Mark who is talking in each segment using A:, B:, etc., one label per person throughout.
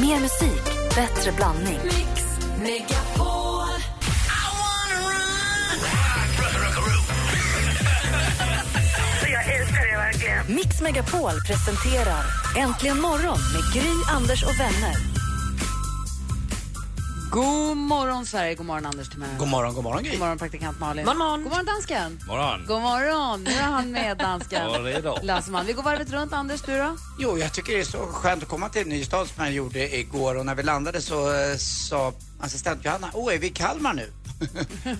A: Mer musik, bättre blandning.
B: Mix Megapol.
C: Jag älskar det verkligen.
A: Mix Megapol presenterar Äntligen morgon med Gry, Anders och vänner.
D: God morgon, Sverige. God morgon, Anders Timell.
E: God morgon, god morgon Gry.
D: God morgon, praktikant Malin.
B: God morgon.
D: God morgon, dansken.
F: Morgon.
D: God morgon. Nu är han med, dansken.
F: Ja, det är då.
D: Lasseman. Vi går varvet runt, Anders. Du då?
E: Jo, jag tycker det är så skönt att komma till en ny stad som jag gjorde igår och när vi landade så eh, sa assistent Johanna, åh är vi i Kalmar nu?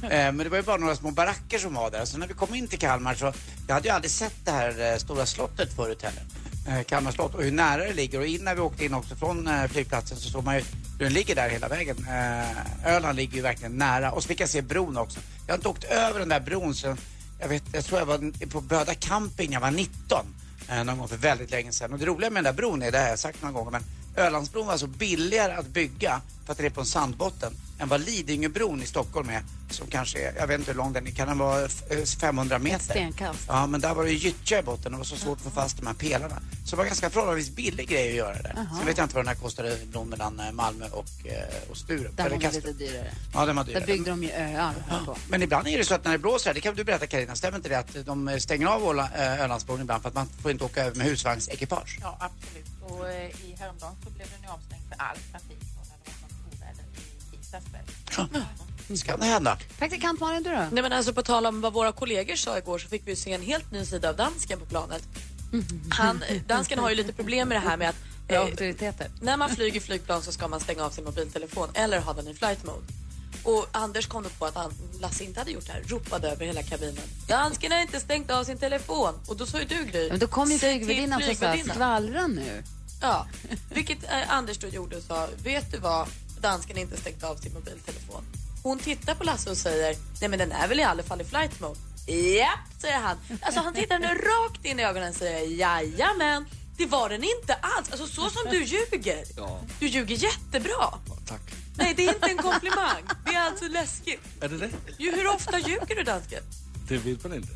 E: Eh, Men det var ju bara några små baracker som var där. Så när vi kom in till Kalmar så, jag hade ju aldrig sett det här eh, stora slottet förut heller. Eh, Kalmar slott och hur nära det ligger. Och innan vi åkte in också från eh, flygplatsen så såg man ju hur den ligger där hela vägen. Eh, Öland ligger ju verkligen nära. Och så fick jag se bron också. Jag har inte åkt över den där bron sen, jag, vet, jag tror jag var på Böda camping när jag var 19 eh, någon gång för väldigt länge sedan. Och det roliga med den där bron är, det här har jag sagt några gånger, men Ölandsbron var alltså billigare att bygga för att det är på en sandbotten än vad Lidingöbron i Stockholm är som kanske är, jag vet inte hur lång den är, kan den vara f- eh, 500 meter?
D: stenkast.
E: Ja, men där var det ju gyttja i botten och det var så svårt att få fast de här pelarna. Så det var ganska förhållandevis billig grej att göra det. Sen vet jag inte vad den här kostade, bron mellan eh, Malmö och, eh, och Sturup.
D: Där var
E: Eller
D: det
E: Kastrup.
D: lite dyrare.
E: Ja, den var dyrare.
D: Där byggde de ju öar. här på.
E: Men ibland är det så att när det blåser, det kan du berätta Carina, stämmer inte det att de stänger av Åla- eh, Ölandsbron ibland för att man får inte åka över med husvagnsekipage?
G: Ja, absolut. Och eh, i häromdagen så blev den ju avstängd för all trafik då när det var sånt oväder i tisdags kväll.
E: Ska det hända?
D: Praktikant Malin, du då?
B: Nej, men alltså, på tal om vad våra kollegor sa igår så fick vi se en helt ny sida av dansken på planet. Han, dansken har ju lite problem med det här med att
D: Bra
B: eh,
D: auktoriteter.
B: när man flyger flygplan så ska man stänga av sin mobiltelefon eller ha den i flight mode. Och Anders kom då på att han, Lasse inte hade gjort det här, ropade över hela kabinen. Dansken har inte stängt av sin telefon. Och då sa ju du Gry.
D: Men då kom ju inte
B: "Se
D: ögonvärdinnan
B: till
D: och sa
B: flygvärdinnan."
D: skvallra nu.
B: Ja, vilket eh, Anders då gjorde och sa, vet du vad, dansken har inte stängt av sin mobiltelefon. Hon tittar på Lasse och säger, nej men den är väl i alla fall i flight mode. Japp, säger han. Alltså han tittar henne rakt in i ögonen och säger, jajamän, det var den inte alls. Alltså så som du ljuger.
F: Ja.
B: Du ljuger jättebra.
F: Tack.
B: Nej, det är inte en komplimang. Det är alltså läskigt.
F: Är det det?
B: Ju, hur ofta ljuger du dansken?
F: Det vet man inte.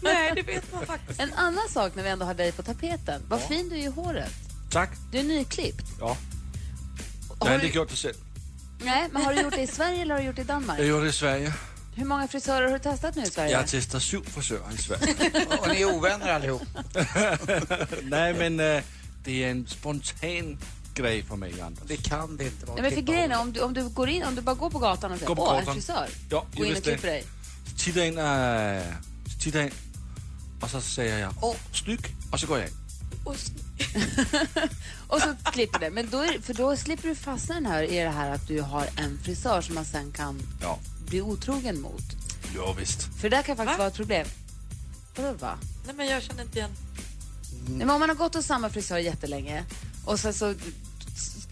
B: Nej, det vet man faktiskt.
D: En annan sak när vi ändå har dig på tapeten. Vad fin du är i håret.
F: Tack.
D: Du är nyklippt.
F: Ja.
D: Har
F: Nej,
D: du-
F: det är klart du ser.
D: Nej, men har du gjort det i Sverige eller har du gjort det i
F: Jag
D: Danmark?
F: gjorde det i Sverige.
D: Hur många frisörer har du testat nu i Sverige?
F: Jag testar sju frisörer i Sverige.
E: Och ni är ovänner allihop.
F: Nej, men eh, det är en spontan grej för mig, Anders.
E: Det kan det inte vara.
D: Nej, men för grejen är, om du, om du går in, om du bara går på gatan och säger
F: Gå på
D: åh, en
F: gatan."
D: frisör.
F: Ja,
D: gå in och
F: just det.
D: klipper dig.
F: Så tittar jag in, eh, så tittar jag in och så säger jag åh, snygg och så går jag in.
B: Och s-
D: Och så klipper det. Men då är, för då slipper du fastna i den här, i det här att du har en frisör som man sen kan
F: Ja,
D: bli otrogen mot.
F: ja visst.
D: För det där kan
B: Va?
D: faktiskt vara ett problem. Vadå va?
B: nej, men jag känner inte igen.
E: Mm.
D: Nej, men om man har gått hos samma frisör jättelänge och sen så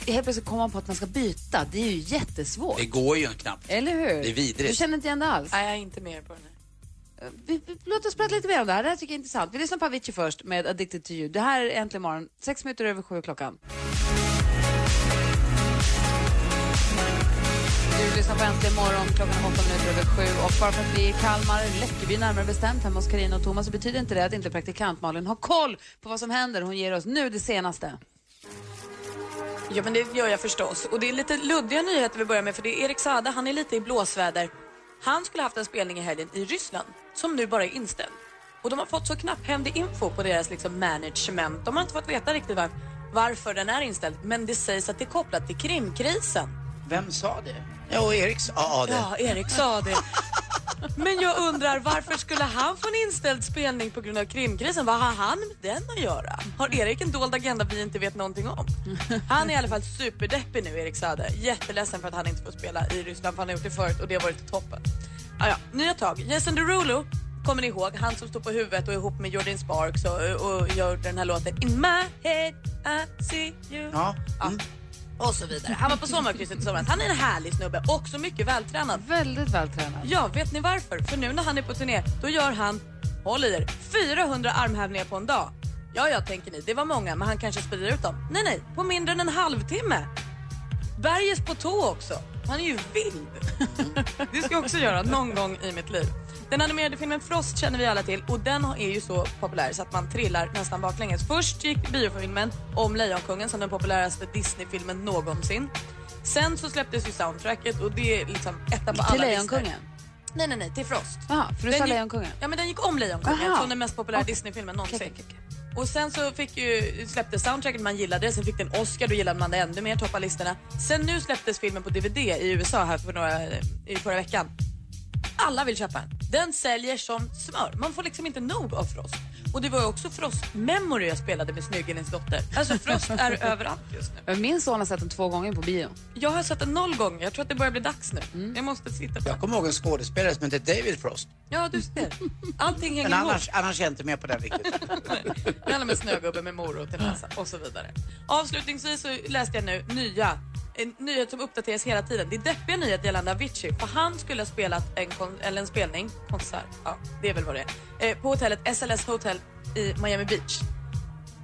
D: helt plötsligt kommer man på att man ska byta. Det är ju jättesvårt.
E: Det går ju knappt.
D: Eller hur?
E: Det är vidrigt.
D: Du känner inte igen det alls?
B: Nej, jag är inte med på den här.
D: Vi, vi, låt oss prata lite mer om det här. Det här tycker jag är intressant. Vi lyssnar på Avicii först med Addicted to you. Det här är Äntligen morgon, sex minuter över sju klockan. Du lyssnar på Äntligen morgon, klockan är åtta minuter över sju. Och bara för att vi är i Kalmar, Läckeby närmare bestämt, hemma hos Carina och Thomas, så betyder inte det att inte praktikant Malin har koll på vad som händer. Hon ger oss nu det senaste.
B: Ja, men det gör jag förstås. Och det är lite luddiga nyheter vi börjar med för det är Erik Sade, han är lite i blåsväder. Han skulle haft en spelning i helgen i Ryssland som nu bara är inställd. Och de har fått så knapphändig info på deras liksom, management. De har inte fått veta riktigt var, varför den är inställd. Men det sägs att det är kopplat till Krimkrisen.
E: Vem sa det? Jo, Erik sa ja, det.
B: Ja, Erik sa det. Men jag undrar varför skulle han få en inställd spelning på grund av Krimkrisen? Vad har han med den att göra? Har Erik en dold agenda vi inte vet någonting om? Han är i alla fall superdeppig nu, Erik Sade. Jätteledsen för att han inte får spela i Ryssland, för han har gjort det förut och det har varit toppen. Ah, ja, nya tag. Jason Derulo, kommer ni ihåg? Han som står på huvudet och är ihop med Jordan Sparks och, och gör den här låten In my head I see you.
E: Ja. Mm.
B: Och så vidare. Han var på sommarkrysset i somras. Han är en härlig snubbe, också mycket vältränad.
D: Väldigt vältränad.
B: Ja, vet ni varför? För nu när han är på turné, då gör han, håll i er, 400 armhävningar på en dag. Ja, ja, tänker ni, det var många, men han kanske sprider ut dem. Nej, nej, på mindre än en halvtimme. Berges på tå också. Han är ju vild. Det ska jag också göra någon gång i mitt liv. Den animerade filmen Frost känner vi alla till och den är ju så populär så att man trillar nästan baklänges. Först gick biofilmen om Lejonkungen som den populäraste Disney-filmen någonsin. Sen så släpptes ju soundtracket och det är liksom etta på alla listor.
D: Till Lejonkungen?
B: Nej, nej, nej, till Frost.
D: Jaha, för du
B: Den
D: sa
B: gick-
D: Lejonkungen.
B: Ja, men den gick om Lejonkungen
D: Aha.
B: som den mest populära
D: Okej.
B: Disney-filmen någonsin.
D: Okej, okej,
B: Och sen så fick ju, släpptes soundtracket, man gillade det. Sen fick den Oscar, då gillade man det ännu mer, toppade listorna. Sen nu släpptes filmen på DVD i USA här för några, i förra veckan. Alla vill köpa den. Den säljer som smör. Man får liksom inte nog av Frost. Och det var ju också Frost Memory jag spelade med Snyggingens dotter. Alltså Frost är överallt just nu.
D: Min son har sett den två gånger på bio.
B: Jag har sett den noll gånger. Jag tror att det börjar bli dags nu.
D: Mm.
B: Jag måste titta på
E: Jag
B: den.
E: kommer ihåg en skådespelare som hette David Frost.
B: Ja, du ser. Allting hänger
E: Men
B: ihop.
E: annars, annars är jag inte med på den riktigt.
B: Det handlar om en snögubbe med morot i näsan och så vidare. Avslutningsvis så läste jag nu nya en nyhet som uppdateras hela tiden. Det är deppiga nyheter gällande Avicii. För han skulle ha spelat en, kon- eller en spelning, konsert, ja det är väl vad det är, eh, på hotellet SLS Hotel i Miami Beach.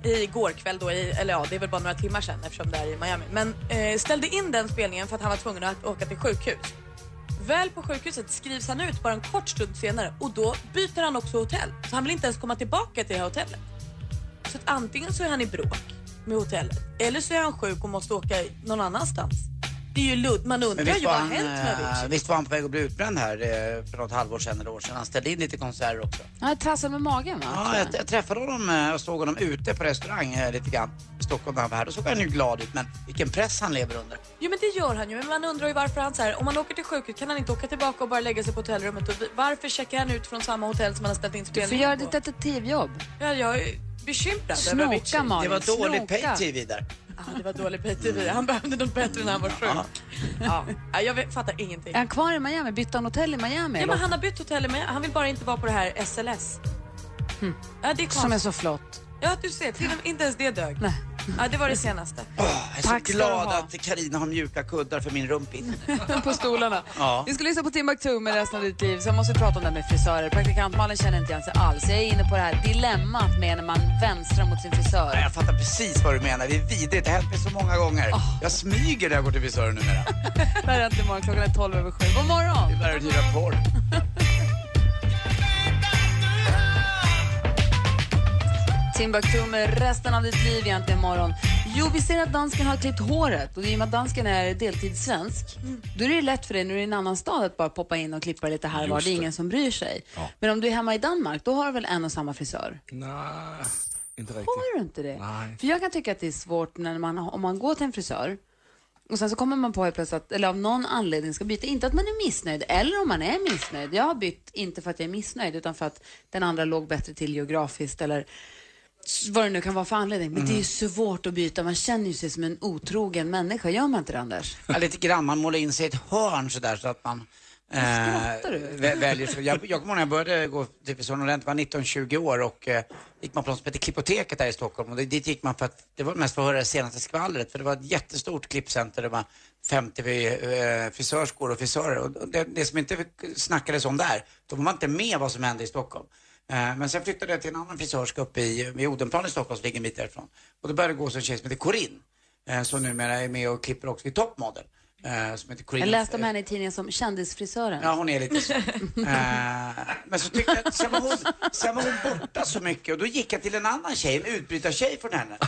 B: Igår kväll då, i, eller ja det är väl bara några timmar sedan eftersom det är i Miami. Men eh, ställde in den spelningen för att han var tvungen att åka till sjukhus. Väl på sjukhuset skrivs han ut bara en kort stund senare och då byter han också hotell. Så han vill inte ens komma tillbaka till det här hotellet. Så att antingen så är han i bråk med hotellet eller så är han sjuk och måste åka någon annanstans. Det är ju ludd. Man undrar
E: Men
B: ju
E: visst
B: vad
E: var,
B: har
E: han,
B: hänt med
E: eh,
B: Avicii?
E: visst var han på väg att bli utbränd här eh, för något halvår sedan eller år sedan. Han ställde in lite konserter också.
D: Han har trassel med magen va?
E: Ja, jag, jag träffade honom eh, och såg honom ute på restaurang eh, lite grann i Stockholm när han var här. Då såg han ju glad ut, men vilken press han lever under.
B: Jo men det gör han ju. Men man undrar ju varför han så här, om han åker till sjukhus kan han inte åka tillbaka och bara lägga sig på hotellrummet? Och vi- varför checkar han ut från samma hotell som han har ställt in
D: Du får
B: spelningen
D: göra
B: på?
D: ditt detektivjobb.
B: Ja, jag är bekymrad över Avicii.
D: Snoka
E: Det
D: Malin,
E: var dåligt
D: snoka.
E: pay-tv där.
B: Ja, det var dålig PTV. Han behövde något bättre när han var sjuk. Ja. jag vet- fattar ingenting.
D: Är han kvar i Miami? Bytte han hotell i Miami?
B: Ja,
D: eller?
B: men han har bytt hotell med. Han vill bara inte vara på det här SLS. Ja, det är
D: Hm. Som är
B: konstigt.
D: så flott.
B: Ja, du ser. Till och med inte ens det dög.
D: Nej.
B: Ja, det var det senaste.
E: Jag är så
D: Tack ska
E: glad
D: du ha.
E: att Karina har mjuka kuddar för min rumpi.
D: på stolarna.
E: Ja.
D: Vi ska lyssna på Timbuktu med resten av ditt liv. Sen måste vi prata om det här med frisörer. Praktikant Malin känner inte igen sig alls. Jag är inne på det här dilemmat med när man vänstrar mot sin frisör.
E: Nej, Jag fattar precis vad du menar. Det är vidrigt. Det har hänt mig så många gånger. Jag smyger när jag går till frisören numera.
D: Det här är Äntligen morgon. Klockan är 12 över 7. God morgon!
E: Det är att hyra porr.
D: Timbuktu med resten av ditt liv egentligen imorgon. Jo, vi ser att dansken har klippt håret och i och med att dansken är deltidssvensk då är det ju lätt för dig när du är i en annan stad att bara poppa in och klippa lite här och var.
F: Just
D: Det är
F: det.
D: ingen som bryr sig. Men om du är hemma i Danmark, då har du väl en och samma frisör?
F: Nej, inte riktigt.
D: Har du inte det?
F: Nej.
D: För jag kan tycka att det är svårt när man, om man går till en frisör och sen så kommer man på helt plötsligt att, eller av någon anledning ska byta. Inte att man är missnöjd, eller om man är missnöjd. Jag har bytt, inte för att jag är missnöjd, utan för att den andra låg bättre till geografiskt eller s- vad det nu kan vara för anledning. Men det är ju
E: Mm.
D: svårt att byta. Man känner ju sig som en otrogen människa. Gör man inte det, Anders?
E: Ja, lite grann. Man målar in sig i ett hörn sådär så att man eh,
D: du?
E: vä- väljer. Så jag, jag kommer ihåg när jag började gå typ till frisören ordentligt, var 19-20 år och eh, gick man på något som heter Klippoteket här i Stockholm och det- dit gick man för att det var mest för att höra det senaste skvallret för det var ett jättestort klippcenter, det var 50 vi- eh, frisörskor och frisörer och det, det som inte snackades om där, då var man inte med vad som hände i Stockholm. Eh, Men sen flyttade jag till en annan frisörska uppe i, vid Odenplan i Stockholm som ligger en bit därifrån. Och då började det gå så en tjej som heter Corinne, eh, som numera är med och klipper också i Top Model. eh, Som heter Corinne.
D: Jag läste om henne i tidningen som kändisfrisören.
E: Ja, hon är lite så. Eh, men så tyckte jag, sen var, hon, sen var hon borta så mycket och då gick jag till en annan tjej, en utbrytartjej från henne,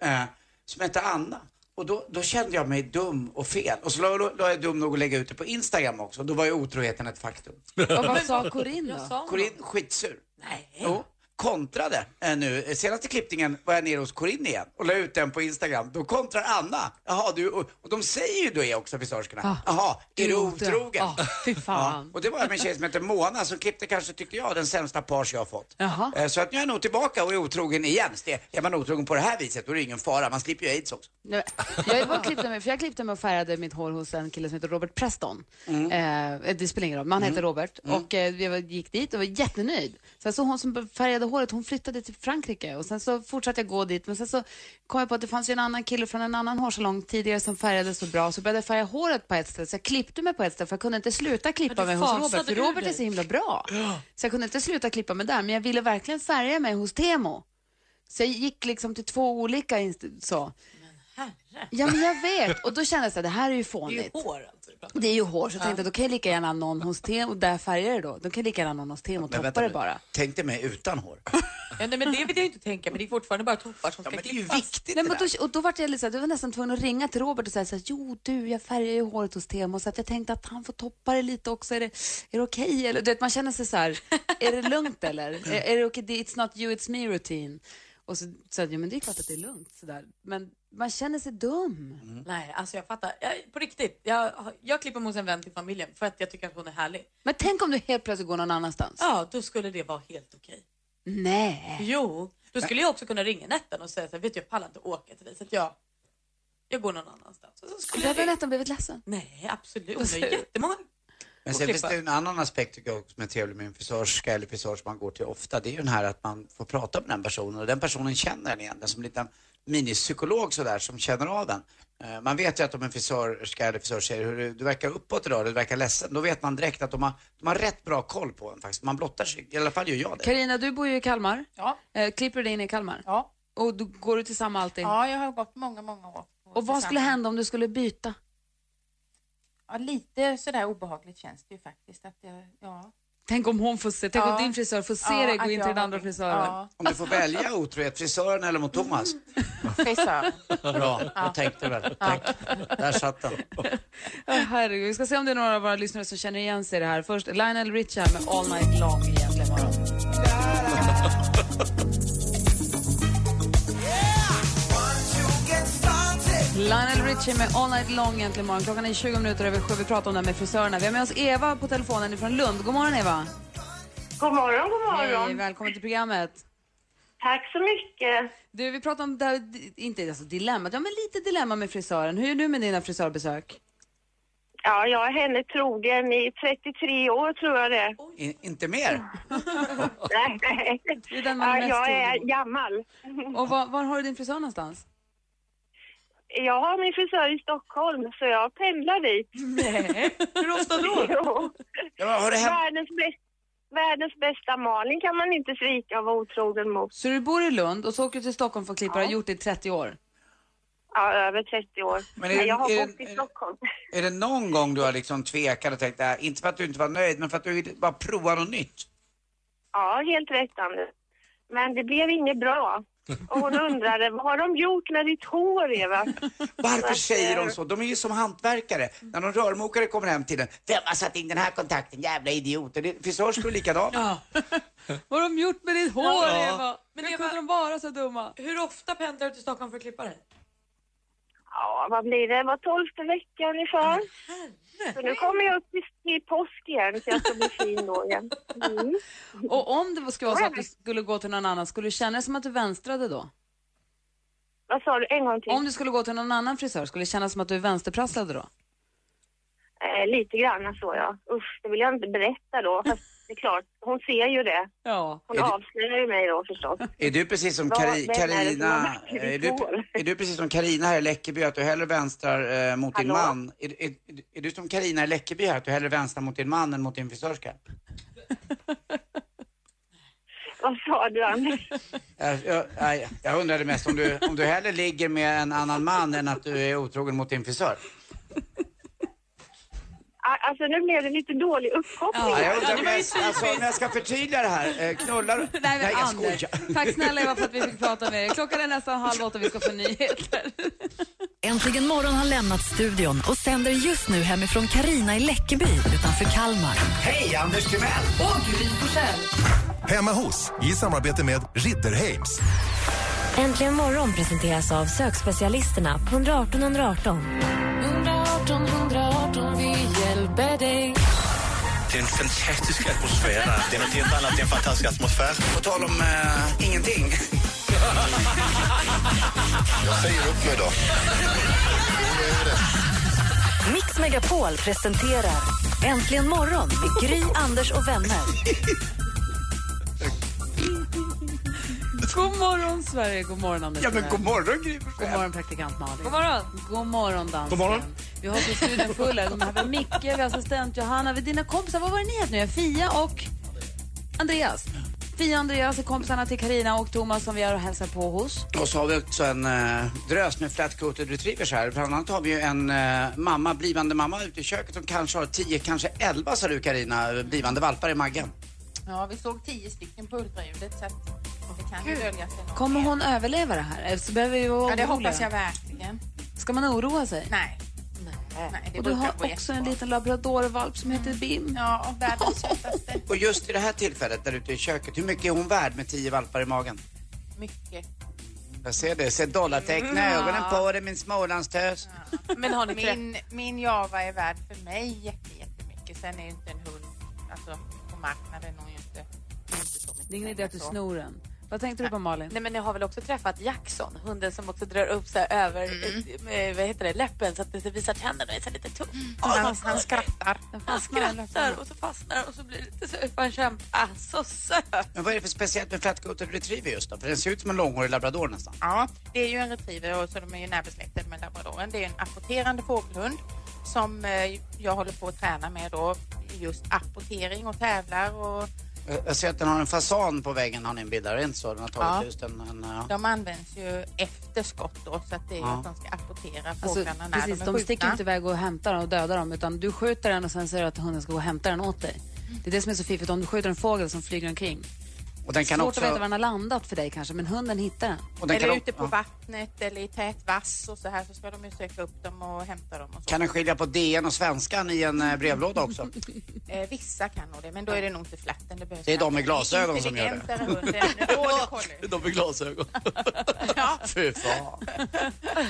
E: eh, som hette Anna. Och då, då kände jag mig dum och fel. Och så la, la, la jag dum nog att lägga ut det på Instagram också. Och då var ju otroheten ett faktum.
D: Och vad sa Corinne då?
B: Jag sa
E: Corinne, skitsur. Nej. Jo, kontrade eh, nu. Eh, Senaste klippningen var jag nere hos Corinne igen och la ut den på Instagram. Då kontrar Anna. Jaha, du, och, och de säger ju det också, frisörskorna.
D: Ah.
E: Jaha, är du
D: Idioter.
E: otrogen?
D: Ah, fy fan.
E: Ja, och det var med en tjej som hette Mona som klippte kanske, tyckte jag, den sämsta page jag har fått.
D: Jaha.
E: Eh, Så att nu är jag nog tillbaka och är otrogen igen. Så det- Är man otrogen på det här viset då är det ingen fara, man slipper ju aids också.
D: Nej, Jag var och klippte mig, för jag klippte mig och färgade mitt hår hos en kille som heter Robert Preston. Eh, det spelar ingen roll, men han heter Robert. Och eh, jag var- gick dit och var jättenöjd. Sen så hon som färgade håret, hon flyttade till Frankrike och sen så fortsatte jag gå dit. Men sen så kom jag på att det fanns ju en annan kille från en annan hårsalong tidigare som färgade så bra. Så började jag färga håret på ett ställe, så jag klippte mig på ett ställe för jag kunde inte sluta klippa
B: Men du
D: mig hos
B: fasade
D: Robert. För
B: ur
D: Robert är
B: dig.
D: så himla bra. Så jag kunde inte sluta klippa mig där, men jag ville verkligen färga mig hos Temo. Så jag gick liksom till två olika inst- så.
G: herre.
D: Ja, men jag vet. Och då kände jag så här, det här är ju
B: Det är ju
D: fånigt.
B: hår alltså. vi pratar om.
D: Det är ju hår, så jag tänkte att då kan jag lika gärna ha någon hos Tem och där färgar det då. Då kan jag lika gärna ha någon hos Tem och toppa det
E: nu.
D: bara.
E: Tänk dig mig utan hår.
B: Ja, nej, men det vill jag ju inte tänka men det är fortfarande bara toppar som ska
E: Ja, men det är ju
B: klippas.
E: viktigt
D: Nej,
E: det
D: men
E: där.
D: då, och då var jag lite så här, du var nästan tvungen att ringa till Robert och säga så här, jo du, jag färgar ju håret hos Temo så att jag tänkte att han får toppa det lite också. Är det, är det okej? Eller du vet, man känner sig så här, är det lugnt eller? Är, är det okej? Det- It's not you, it's me rutin. Och så sa jag, ja men det är klart att det är lugnt sådär. Men man känner sig dum.
B: Nej, alltså jag fattar. Jag, på riktigt, jag, jag klipper mig hos en vän till familjen för att jag tycker att hon är härlig.
D: Men tänk om du helt plötsligt går någon annanstans.
B: Ja, då skulle det vara helt okej.
D: Nej.
B: Jo, då skulle jag också kunna ringa Nettan och säga så här, vet du jag pallar inte åka till dig så att jag, jag går någon annanstans. Och så
D: Då
B: skulle jag
D: hade
B: ringa.
D: nästan blivit ledsen.
B: Nej, absolut. Hon har jättemånga.
E: Men
B: och
E: sen finns
B: klippa.
E: det ju en annan aspekt tycker jag också som är trevlig med en frisörska eller frisör som man går till ofta. Det är ju den här att man får prata med den personen och den personen känner en igen. Det är som en liten minipsykolog sådär som känner av en. Eh, Man vet ju att om en frisörska eller frisör säger hur du, du verkar uppåt idag, du verkar ledsen. Då vet man direkt att de har, de har rätt bra koll på en faktiskt. Man blottar sig, i alla fall gör jag det.
D: Karina, du bor ju i Kalmar.
G: Ja,
D: Eh, klipper du dig in i Kalmar?
G: ja.
D: Och du, går du till samma alltid?
G: ja, jag har gått många, många år. på
D: Och vad skulle
G: tillsammans.
D: hända om du skulle byta?
G: Ja, lite sådär obehagligt känns det ju faktiskt. Att jag, ja.
D: Tänk om hon får se, tänk
G: Ja.
D: om din frisör får se
G: ja,
D: dig gå
G: att
D: in
G: jag
D: till den
G: har
D: andra
G: blivit-
D: frisören.
G: Ja,
E: Om du får välja otrohet, frisören eller mot Thomas?
G: frisören.
E: Bra, då tänkte du väl. Tack. Där satt den.
D: Åh, herregud. Vi ska se om det är några av våra lyssnare som känner igen sig i det här. Först Lionel Richie här med All Night Long egentligen. var de. Lionel Richie med All Night Long egentligen morgon. Klockan är 20 minuter över sju. Vi pratar om det här med frisörerna. Vi har med oss Eva på telefonen från Lund. God morgon Eva.
C: God morgon, god morgon.
D: Hej, välkommen till programmet.
C: Tack så mycket.
D: Du, vi pratar om det här, inte alltså dilemmat, ja men lite dilemma med frisören. Hur är du med dina frisörbesök?
C: Ja, jag är henne trogen i 33 år tror jag det.
E: I, inte mer?
C: Nej, nej.
D: Det är den man
C: Ja,
D: är mest
C: jag
D: trogen
C: är
D: mot.
C: gammal.
D: Och var, var har du din frisör någonstans?
C: Jag har min frisör i Stockholm så jag pendlar dit.
B: Nej, hur ofta då?
C: Jo.
E: Ja, men har det hänt?
C: Världens, bäst, världens bästa Malin kan man inte svika och vara otrogen mot.
D: Så du bor i Lund och så åker du till Stockholm för att klippa och har gjort det i 30 år?
C: Ja, över 30 år.
E: Men
C: Men,
E: är det-
C: jag
E: är
C: har
E: det-
C: bott
E: är
C: i
E: det-
C: Stockholm.
E: Är det någon gång du har liksom tvekat och tänkt, äh, inte för att du inte var nöjd, men för att du ville bara prova något nytt?
C: Ja, helt rätt Anders. Men det blev inget bra. Och hon undrade, vad har de gjort med ditt hår Eva?
E: Varför
C: Varför?
E: säger de så? De är ju som hantverkare. När någon rörmokare kommer hem till den, vem har satt in den här kontakten, jävla idioter? Det- Frisörskor är likadana.
D: Vad har de gjort med ditt hår Eva? Men
B: Men
D: Hur
B: Eva-
D: kunde de vara så dumma?
B: Hur ofta pendlar du till Stockholm för att klippa dig?
C: Ja, vad blir det? Var tolfte vecka ungefär. Så nu kommer jag upp till, till påsk igen så jag ska bli fin då igen. Mm.
D: Och om det skulle vara så att du skulle gå till någon annan, skulle du känna det som att du vänstrade då?
C: Vad sa du? En gång till?
D: Om du skulle gå till någon annan frisör, skulle det kännas som att du vänsterprasslade då?
C: Eh, lite grann så ja. Usch, det vill jag inte berätta då. Fast det är klart, hon ser ju det.
D: Ja.
C: Hon
E: Är det-
C: avslöjar ju mig då förstås.
E: Är du precis som
C: Vad-
E: Kari-
C: vem är det som har
E: Karina? eh,
C: lagt
E: Är,
C: ditt
E: du-
C: hår?
E: är du precis som Karina här i Läckeby, att du hellre vänstrar eh, mot din
C: Hallå?
E: man? Är, är, är du som Karina i Läckeby här, att du hellre vänstrar mot din man än mot din frisörska?
C: Vad sa du Anders?
E: Jag, jag, nej, jag undrade mest om du, om du hellre ligger med en annan man än att du är otrogen mot din frisör?
C: Ah, Alltså nu blev det lite dålig uppkoppling.
E: Ja, jag
B: Ja,
E: undrar
B: det
E: om
B: var ju
E: jag, alltså, om jag ska förtydliga det här. Eh, Knullar du?
D: Nej, men
E: jag
D: Anders,
E: skojar.
D: tack snälla Eva för att vi fick prata med dig. Klockan är nästan halv åtta vi ska få nyheter.
A: Äntligen morgon har lämnat studion och sänder just nu hemifrån Karina i Läckeby utanför Kalmar.
E: Hej, Anders Timell!
H: Hemma hos, i samarbete med Ridderheims.
I: Äntligen morgon presenteras av sökspecialisterna på 118 118.
J: Det är en fantastisk atmosfär. Det är något helt annat än fantastisk atmosfär.
E: På tal om eh, ingenting.
J: Jag säger upp mig då.
A: Mix Megapol presenterar Äntligen morgon med Gry, Anders och vänner.
D: God morgon Sverige, god morgon Anders.
E: Ja, men god morgon, Gry
D: God
E: Forssell.
D: morgon praktikant Malin. God morgon. God morgon dansken.
F: God morgon.
D: Vi har till studion full här. De här var Micke, vi har assistent Johanna, vi har dina kompisar. Vad var det ni hette nu? Fia och Andreas. Sofia, Andreas är kompisarna till Karina och Thomas som vi är och hälsar på hos.
E: Och så har vi också en eh, drös med flat-coated retrievers här. Bland annat har vi ju en eh, mamma, blivande mamma ute i köket som kanske har 10, kanske 11 sa du Carina, blivande valpar i magen.
G: Ja, vi såg tio stycken på ultraljudet så att det kan ju dölja sig något.
D: Kommer hon överleva det här? Så behöver vi vara
G: Ja, det
D: oroliga.
G: hoppas jag verkligen.
D: Ska man oroa sig?
G: Nej. Nej, det
D: Och du
G: brukar
D: har
G: gå
D: också en
G: jättebra. Mm.
D: liten labradorvalp som heter Bim.
G: Ja, och världens sötaste.
E: Och just i det här tillfället där ute i köket, hur mycket är hon värd med 10 valpar i magen?
G: Mycket.
E: Jag ser det, jag ser dollartecknen i ögonen på dig min smålandstös.
B: Men har ni träffat...
G: Min, min Java är värd för mig jätte- jättemycket. Sen är ju inte en hund, alltså på marknaden, hon är ju inte, hon är inte så mycket.
D: Det är ingen idé att du
G: Så.
D: snor den. Vad tänkte du på Malin?
B: Nej, men ni har väl också träffat Jackson, hunden som också drar upp så här över eh, vad heter det, läppen så att det visar tänderna. Det är så lite tungt.
G: Han, han skrattar.
B: Han skrattar och så fastnar det och så blir det lite så man känner, ah, så söt.
E: Men vad är det för speciellt med flat-coated retriever just då? För den ser ut som en långhårig labrador nästan.
G: Ja, det är ju en retriever och så de är ju närbesläktade med labradoren. Det är en apporterande fågelhund som eh, jag håller på att träna med då i just apportering och tävlar och
E: Jag Eh, jag ser att den har en fasan på väggen, har ni en bild där? Är det inte så? Den eh, har tagit
G: Ja.
E: just en... en ja.
G: de används ju efter skott då så att det är ju
E: Ja.
G: att de ska apportera
D: Alltså,
G: fåglarna när
D: precis,
G: de är
D: de
G: skjutna.
D: sticker inte iväg och hämtar och dödar dem utan du skjuter den och sen säger du att hunden ska gå och hämta den åt dig.
G: Mm.
D: Det är det som är så fiffigt. Om du skjuter en fågel som flyger omkring.
E: Och den kan
D: Svårt
E: också...
D: att veta var den har landat för dig kanske, men hunden hittar den.
E: och den
G: eller
E: kan,
G: ute på
E: ja.
G: vattnet eller i tät vass och så här så ska de ju söka upp dem och hämta dem och så.
E: Kan den skilja på DN och svenskan i en eh, brevlåda också?
G: Eh, vissa kan nog det men då är det nog inte flatten det behövs.
E: Det är de med glasögon som gör det.
G: Intelligentare hund än border collie.
E: De med glasögon. Fy fan.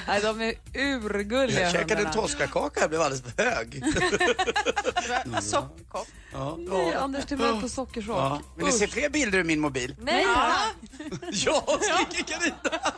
D: Nej, de är urgulliga
E: Jag käkade en
D: hundarna.
E: toskakaka jag blev alldeles för hög.
G: Det var Soppkopp.
E: Ja,
D: Nej,
E: ja.
D: Anders, du var på sockerchock.
E: Ja. Vill ni se fler bilder ur min mobil?
B: Nej,
E: Ja, skriker Carina.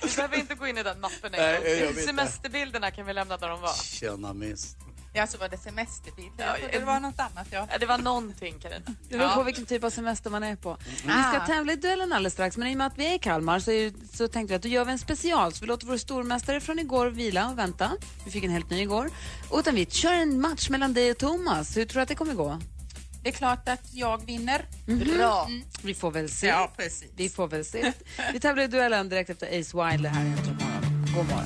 B: vi behöver inte gå in i den mappen. en
E: Nej,
B: gång.
E: jag vet
B: Semesterbilderna kan vi lämna där de var.
E: Tjena miss.
G: Ja, så var det semesterbilder. Jag
B: Ja,
G: trodde det var något annat. Ja.
B: Ja, det var någonting, Carina.
D: Det beror på vilken typ av semester man är på. Vi ska
G: Ah.
D: tävla i duellen alldeles strax, men i och med att vi är i Kalmar så, är, ju- så tänkte vi att då gör vi en special. Så vi låter vår stormästare från igår vila och vänta. Vi fick en helt ny igår. Utan vi kör en match mellan dig och Thomas. Hur tror du att det kommer gå?
G: Det är klart att jag vinner.
B: Mm-hmm.
G: Mm. Bra.
D: Vi får väl se.
G: Ja, precis.
D: Vi får väl se. Vi tävlar i duellen direkt efter Ace Wild. Det här är Äntligen morgon. God morgon.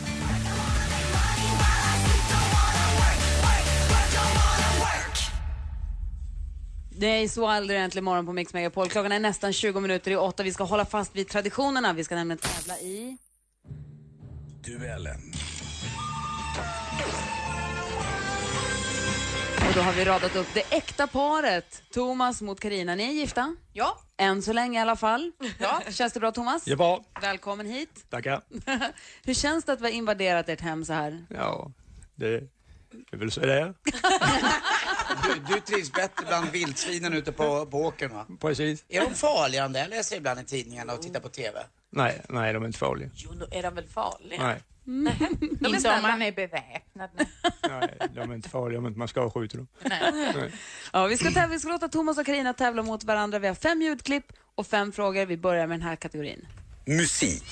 D: Det är Ace Wild det är Äntligen morgon på Mix Megapol. Klockan är nästan 20 minuter i åtta. Vi ska hålla fast vid traditionerna. Vi ska nämligen tävla i...
F: Duellen.
D: Och då har vi radat upp det äkta paret. Thomas mot Karina. Ni är gifta?
G: Ja.
D: Än så länge i alla fall. Ja. Känns det bra Thomas?
K: Det är bra.
D: Välkommen hit.
K: Tackar.
D: Hur känns det att vi har invaderat ert hem så här?
K: Ja, det är väl så det är.
E: Du, du trivs bättre bland vildsvinen ute på, på åkern va?
K: Precis.
E: Är de farliga de där? Jag läser ibland i tidningarna och tittar på TV.
K: Nej, nej, de är inte farliga.
B: Jo, då är de väl farliga?
K: Nej,
B: De är
G: Inte om
B: snälla.
G: man är beväpnad. nu.
K: nej, de är inte farliga om inte man ska skjuta dem.
D: Ja, vi, ska tävla, vi ska låta Thomas och Karina tävla mot varandra. Vi har fem ljudklipp och fem frågor. Vi börjar med den här kategorin.
J: Musik.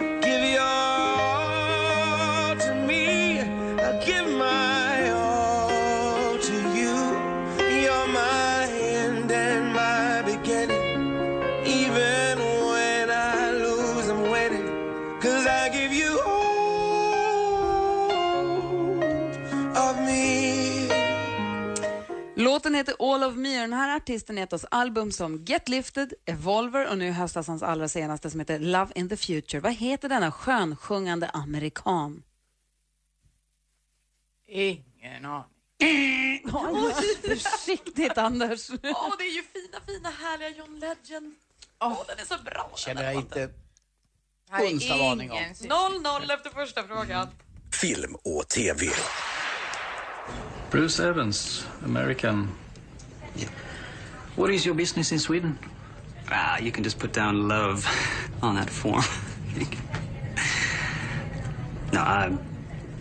F: Give your to me. I give my all to you. You're my end and my beginning. Even when I lose, I'm winning. Cause I give you all of me.
D: Låten heter All of me och den här artisten har gett oss album som Get Lifted, Evolver och nu i höstas hans allra senaste som heter Love in the Future. Vad heter denna skönsjungande amerikan?
G: Ingen aning.
D: Oj, försiktigt Anders.
B: Åh, det är ju fina, fina, härliga John Legend. Åh, den är så bra. den
E: Känner
B: här
E: jag
B: låten.
E: inte
G: Jag hade
E: Onsdag varning om.
G: ingen syn.
B: 0-0 efter första frågan.
J: Film och TV.
L: Bruce Evans, American. What is your business in Sweden? Ah, you can just put down love on that form. no, I'm,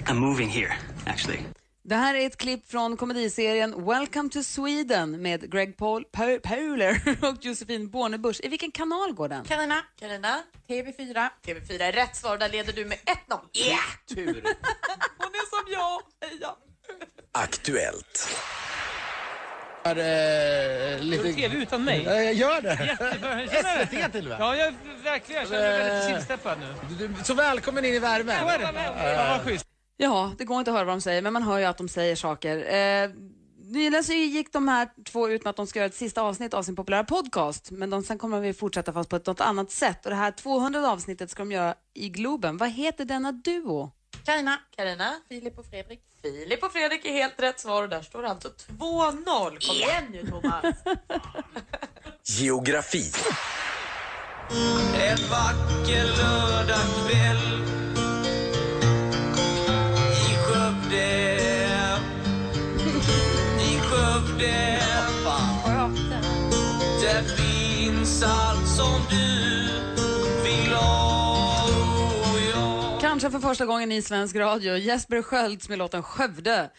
L: I'm moving here, actually.
D: Det här är ett klipp från komediserien Welcome to Sweden med Greg Paul, Paul, Pauler och Josefin Bornebusch. I vilken kanal går den?
G: Carina,
B: Carina,
G: TV4.
B: TV4 är rätt svar. Där leder du med 1-0. Yeah!
E: tur.
B: Hon är som jag och Meja.
J: Aktuellt.
M: Eh, lite...
N: TV utan mig?
M: Ja, jag gör det.
N: Jättebra. Känner du?
M: SVT till och med.
N: Ja, jag verkligen. Jag känner mig väldigt
M: Eh,
N: tillsteppad nu.
M: Du- du- Så välkommen in i värmen.
N: Så är det. Ja, vad schysst.
D: Ja, det går inte att höra vad de säger, men man hör ju att de säger saker. Eh, nyligen så gick de här två ut med att de ska göra ett sista avsnitt av sin populära podcast, men de, sen kommer vi fortsätta fast på ett något annat sätt. Och det här 200 avsnittet ska de göra i Globen. Vad heter denna duo?
B: Karina, Karina, Filip och Fredrik. Filip och Fredrik är helt rätt svar och där står det alltså 2-0. Kom igen nu Thomas!
O: Geografi.
F: En vacker lördagkväll i Skövde I Skövde Där finns allt som du vill ha
D: Kanske för första gången i svensk radio, Jesper Skölds med låten Skövde.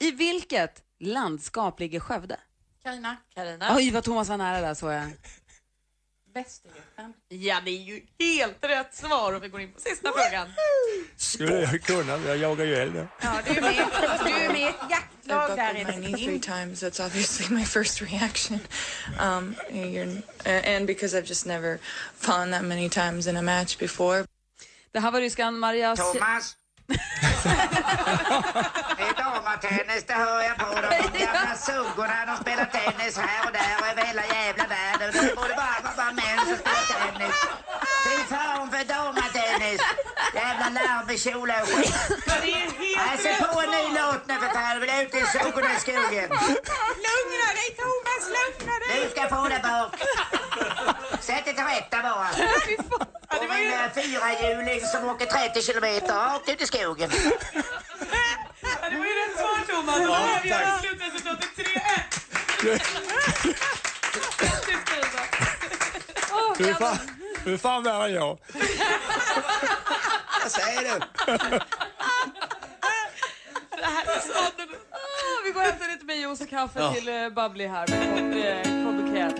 D: I vilket landskap ligger Skövde?
G: Carina,
E: Ah.
G: Carina.
D: Oj, vad Thomas var nära där såg jag.
G: Västergötland.
B: Ja, det är ju helt rätt svar och vi går in på sista frågan.
K: Skulle jag kunna, men jag jagar ju älg.
G: Ja, du är med, du är med i ett jaktlag där
P: three
G: i
P: times. That's obviously my first reaction, um, you're, and because I've just never fallen that many times in a match before.
D: Det här var ryskan Maria...
P: Thomas!
E: Det är damertennis, det hör jag på dem. De gamla suggorna, de spelar tennis här och där och över hela jävla världen. Det borde bara vara bara män som spelar tennis. Fy fan för damertennis! Jävla larvekjolar och skit. Nej, Sätt på en ny låt nu för fan. Jag vill ut i suggorna i skogen.
F: Lugna dig Thomas, lugna dig!
E: Du ska få det bak. Sätt dig till rätta bara. Om en eh, fyrahjuling som åker 30 kilometer rakt ut i skogen.
B: Det var ju rätt svar Thomas.
E: Ja,
B: Då har vi
E: tack.
B: slutresultatet 3-1. Grattis Frida. Åh,
K: Du är
B: jävlar.
K: fan, du är fan värre än jag.
E: Vad säger du?
B: Det här är så annorlunda.
D: Ah, vi går och hämtar lite med juice och kaffe
B: Ja.
D: till eh, Bubbly här med Cobb- eh, Cobb och Kräp.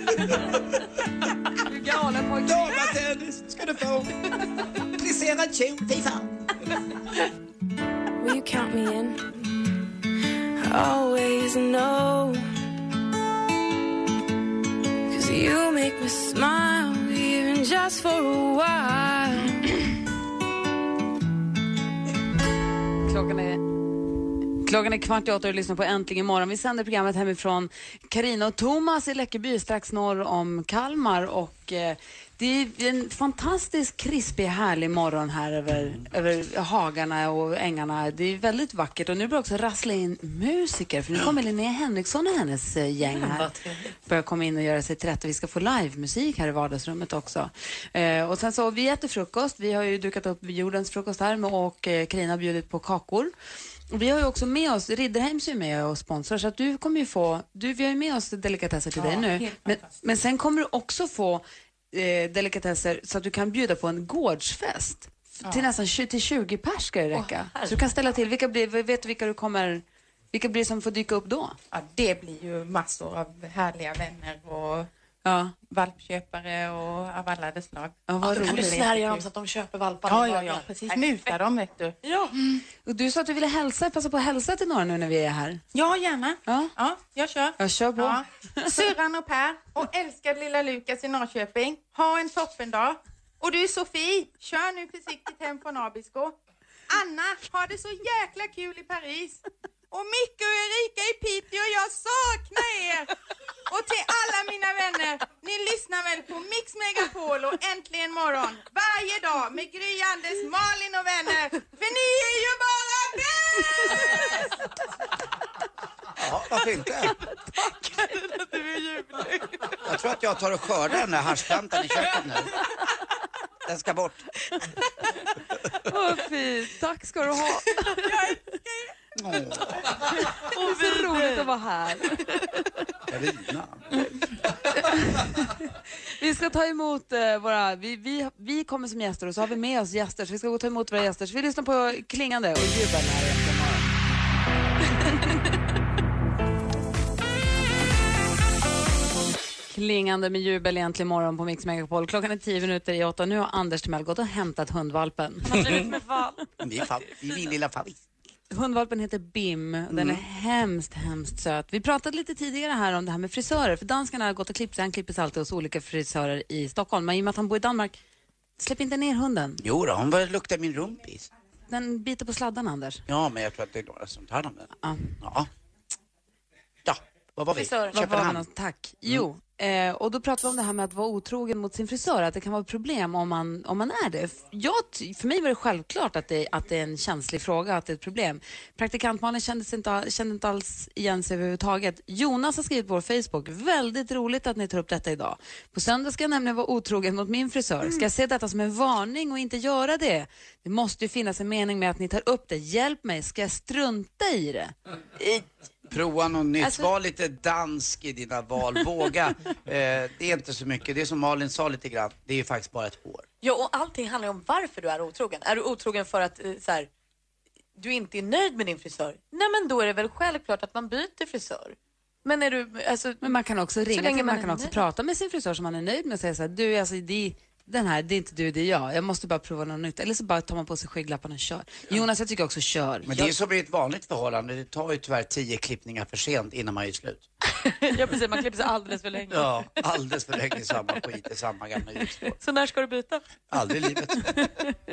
D: Du är galen pojke.
E: Damertennis ska du få. Plisserad kjol, fy fan.
Q: Will you count me in? Always know. Cause you make me smile, even just for a while.
D: Klockan är... Klockan är kvart i åtta och du lyssnar på Äntligen morgon. Vi sänder programmet hemifrån Karina och Thomas i Läckeby strax norr om Kalmar. Och, eh, det är en fantastisk krispig, härlig morgon här över, över hagarna och ängarna. Det är väldigt vackert och nu börjar också rassla in musiker för nu kommer Linnea Henriksson och hennes eh, gäng här. börjar komma in och göra sig till rätta. Vi ska få livemusik här i vardagsrummet också. Eh, och sen så, vi äter frukost. Vi har ju dukat upp jordens frukost här med, och eh, Carina har bjudit på kakor. Och vi har ju också med oss, Ridderheims är ju med och sponsrar, så att du kommer ju få, du, vi har ju med oss delikatesser till
G: Ja,
D: dig nu.
G: helt
D: Men, men sen kommer du också få eh, delikatesser så att du kan bjuda på en gårdsfest. F- Till nästan 20, till 20 pers ska det räcka. så du kan ställa till, vilka blir, vet du vilka du kommer, vilka blir det som får dyka upp då?
G: Ja, det blir ju massor av härliga vänner och
D: ja.
G: valpköpare och av alla de slag.
D: Ja, vad roligt.
G: att de köper valparna. Ja, ja, ja, precis. Muta dem, vet du.
B: Ja.
D: Och du sa att du ville hälsa, passa på att hälsa till några nu när vi är här.
G: Ja, gärna.
D: Ja,
G: ja jag kör.
D: Jag kör på.
G: Ja. Syrran och Per och älskade lilla Lukas i Norrköping. Ha en toppendag. Och du Sofie, kör nu försiktigt hem från Abisko. Anna, ha det så jäkla kul i Paris. Och Micke och Erika i Piteå, jag saknar er! Och till alla mina vänner, ni lyssnar väl på Mix Megapol och Äntligen Morgon varje dag med Gry, Anders, Malin och vänner. För ni är ju bara bäst!
E: Ja, varför inte? Jag tror att jag tar och skördar den där haschplantan i köket nu. Den ska bort.
D: Vad fint. Tack ska du ha.
B: Det
D: är så roligt att vara här.
E: Carina.
D: Vi ska ta emot eh, våra... Vi, vi, vi kommer som gäster och så har vi med oss gäster. Så vi ska gå och ta emot våra gäster. Så vi lyssnar på klingande och jubel här i Äntligen morgon. Klingande med jubel egentligen morgon på Mix Megapol. Klockan är tio minuter i åtta. Nu har Anders Timell gått och hämtat hundvalpen.
E: Min, fa- min lilla favorit.
D: Hundvalpen heter Bim. Den
O: Mm.
D: är hemskt, hemskt söt. Vi pratade lite tidigare här om det här med frisörer. För danskarna har gått och klippt sig. Han klipper sig alltid hos olika frisörer i Stockholm. Men i och med att han bor i Danmark, släpp inte ner hunden.
E: Jo då, hon började lukta min rumpis.
D: Den biter på sladdarna, Anders.
E: Ja, men jag tror att det är några som tar hand om den.
D: Ja.
E: Ja. Vad var vi?
D: Frisör, vad var vi
E: Köpenhamn.
D: någonstans? Tack. Jo, eh, och då pratade vi om det här med att vara otrogen mot sin frisör, att det kan vara ett problem om man, om man är det. F- Jag, ty- för mig var det självklart att det, att det är en känslig fråga, att det är ett problem. Praktikantmannen kände, sig inte, all- kände inte alls igen sig överhuvudtaget. Jonas har skrivit på vår Facebook, väldigt roligt att ni tar upp detta idag. På söndag ska jag nämligen vara otrogen mot min frisör. Ska jag se detta som en varning och inte göra det? Det måste ju finnas en mening med att ni tar upp det. Hjälp mig, ska jag strunta i det?
E: Prova något nytt.
D: Alltså-
E: Var lite dansk i dina val. Våga. eh, det är inte så mycket. Det är som Malin sa lite grann. Det är ju faktiskt bara ett hår.
B: Ja, och allting handlar ju om varför du är otrogen. Är du otrogen för att eh, så här, du inte är nöjd med din frisör? Nej, men då är det väl självklart att man byter frisör. Men är du... Alltså,
D: Men man kan också
B: Så
D: ringa
B: länge
D: till,
B: man
D: man
B: är
D: kan också
B: nöjd.
D: prata med sin frisör som man är nöjd med och säga så här, du alltså det, den här, det är inte du, det är jag. Jag måste bara prova något nytt. Eller så bara tar man på sig skygglapparna och kör. Jonas, jag tycker också kör.
E: Men det är som i ett vanligt förhållande. Det tar ju tyvärr tio klippningar för sent innan man gör slut.
B: ja, precis, man klipper sig alldeles för länge.
E: Ja, alldeles för länge samma skit i samma gamla hjulspår.
B: Så när ska du byta?
E: Aldrig i livet.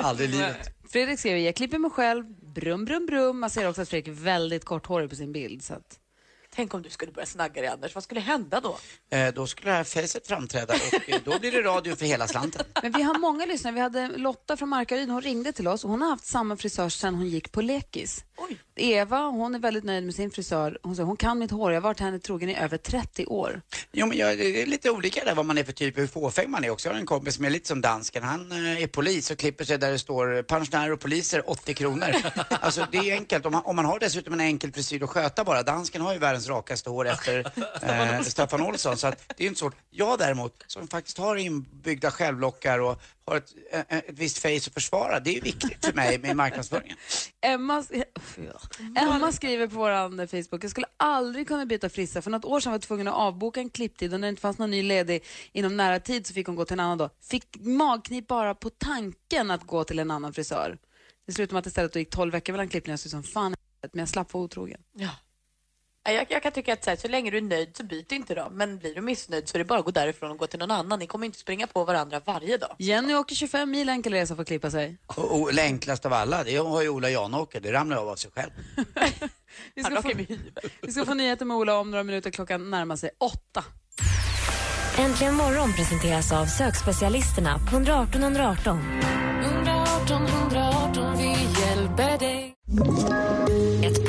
E: Aldrig i livet.
D: Fredrik skriver, jag klipper mig själv, brum, brum, brum. Man ser också att Fredrik är väldigt korthårig på sin bild. Så att...
B: Tänk om du skulle börja snagga dig, Anders. Vad skulle hända då?
E: Eh, då skulle det här facet framträda och eh, då blir det radio för hela slanten.
D: Men vi har många lyssnare. Vi hade Lotta från Markaryd, hon ringde till oss och hon har haft samma frisör sedan hon gick på lekis. Eva, hon är väldigt nöjd med sin frisör. Hon säger, hon kan mitt hår, jag har varit henne trogen i över 30 år.
E: Jo, men jag, det är lite olika där vad man är för typ, hur fåfäng man är också. Jag har en kompis som är lite som dansken. Han eh, är polis och klipper sig där det står eh, pensionärer och poliser 80 kronor. alltså det är enkelt. Om man, om man har dessutom en enkel frisyr att sköta bara. Dansken har ju världens rakaste hår efter eh, Staffan Olsson. Så att, det är inte svårt. Jag däremot, som faktiskt har inbyggda självlockar och har ett, eh, ett visst face att försvara. Det är ju viktigt för mig med marknadsföringen.
D: Emma, Emma skriver på vår Facebook, jag skulle aldrig kunna byta frissa. För något år sedan var jag tvungen att avboka en klipptid och när det inte fanns någon ny ledig inom nära tid så fick hon gå till en annan dag. Fick magknip bara på tanken att gå till en annan frisör. Det slutade med att istället då gick 12 veckor mellan klippningar och jag såg ut som fan i helvete, men jag slapp vara otrogen.
B: Nej, Jag, jag kan tycka att så, här, så länge du är nöjd så byt inte då. Men blir du missnöjd så är det bara att gå därifrån och gå till någon annan. Ni kommer inte springa på varandra varje dag.
D: Jenny åker 25 mil enkel resa för att klippa sig.
E: Och, och det enklaste av alla, det har ju Ola Janåker. Det ramlar av av sig själv.
D: Vi ska, få, vi ska få nyheter med Ola om några minuter, klockan närmar sig åtta.
I: Äntligen morgon presenteras av sökspecialisterna på 118 118.
Q: 118 118, vi hjälper dig.
I: Ett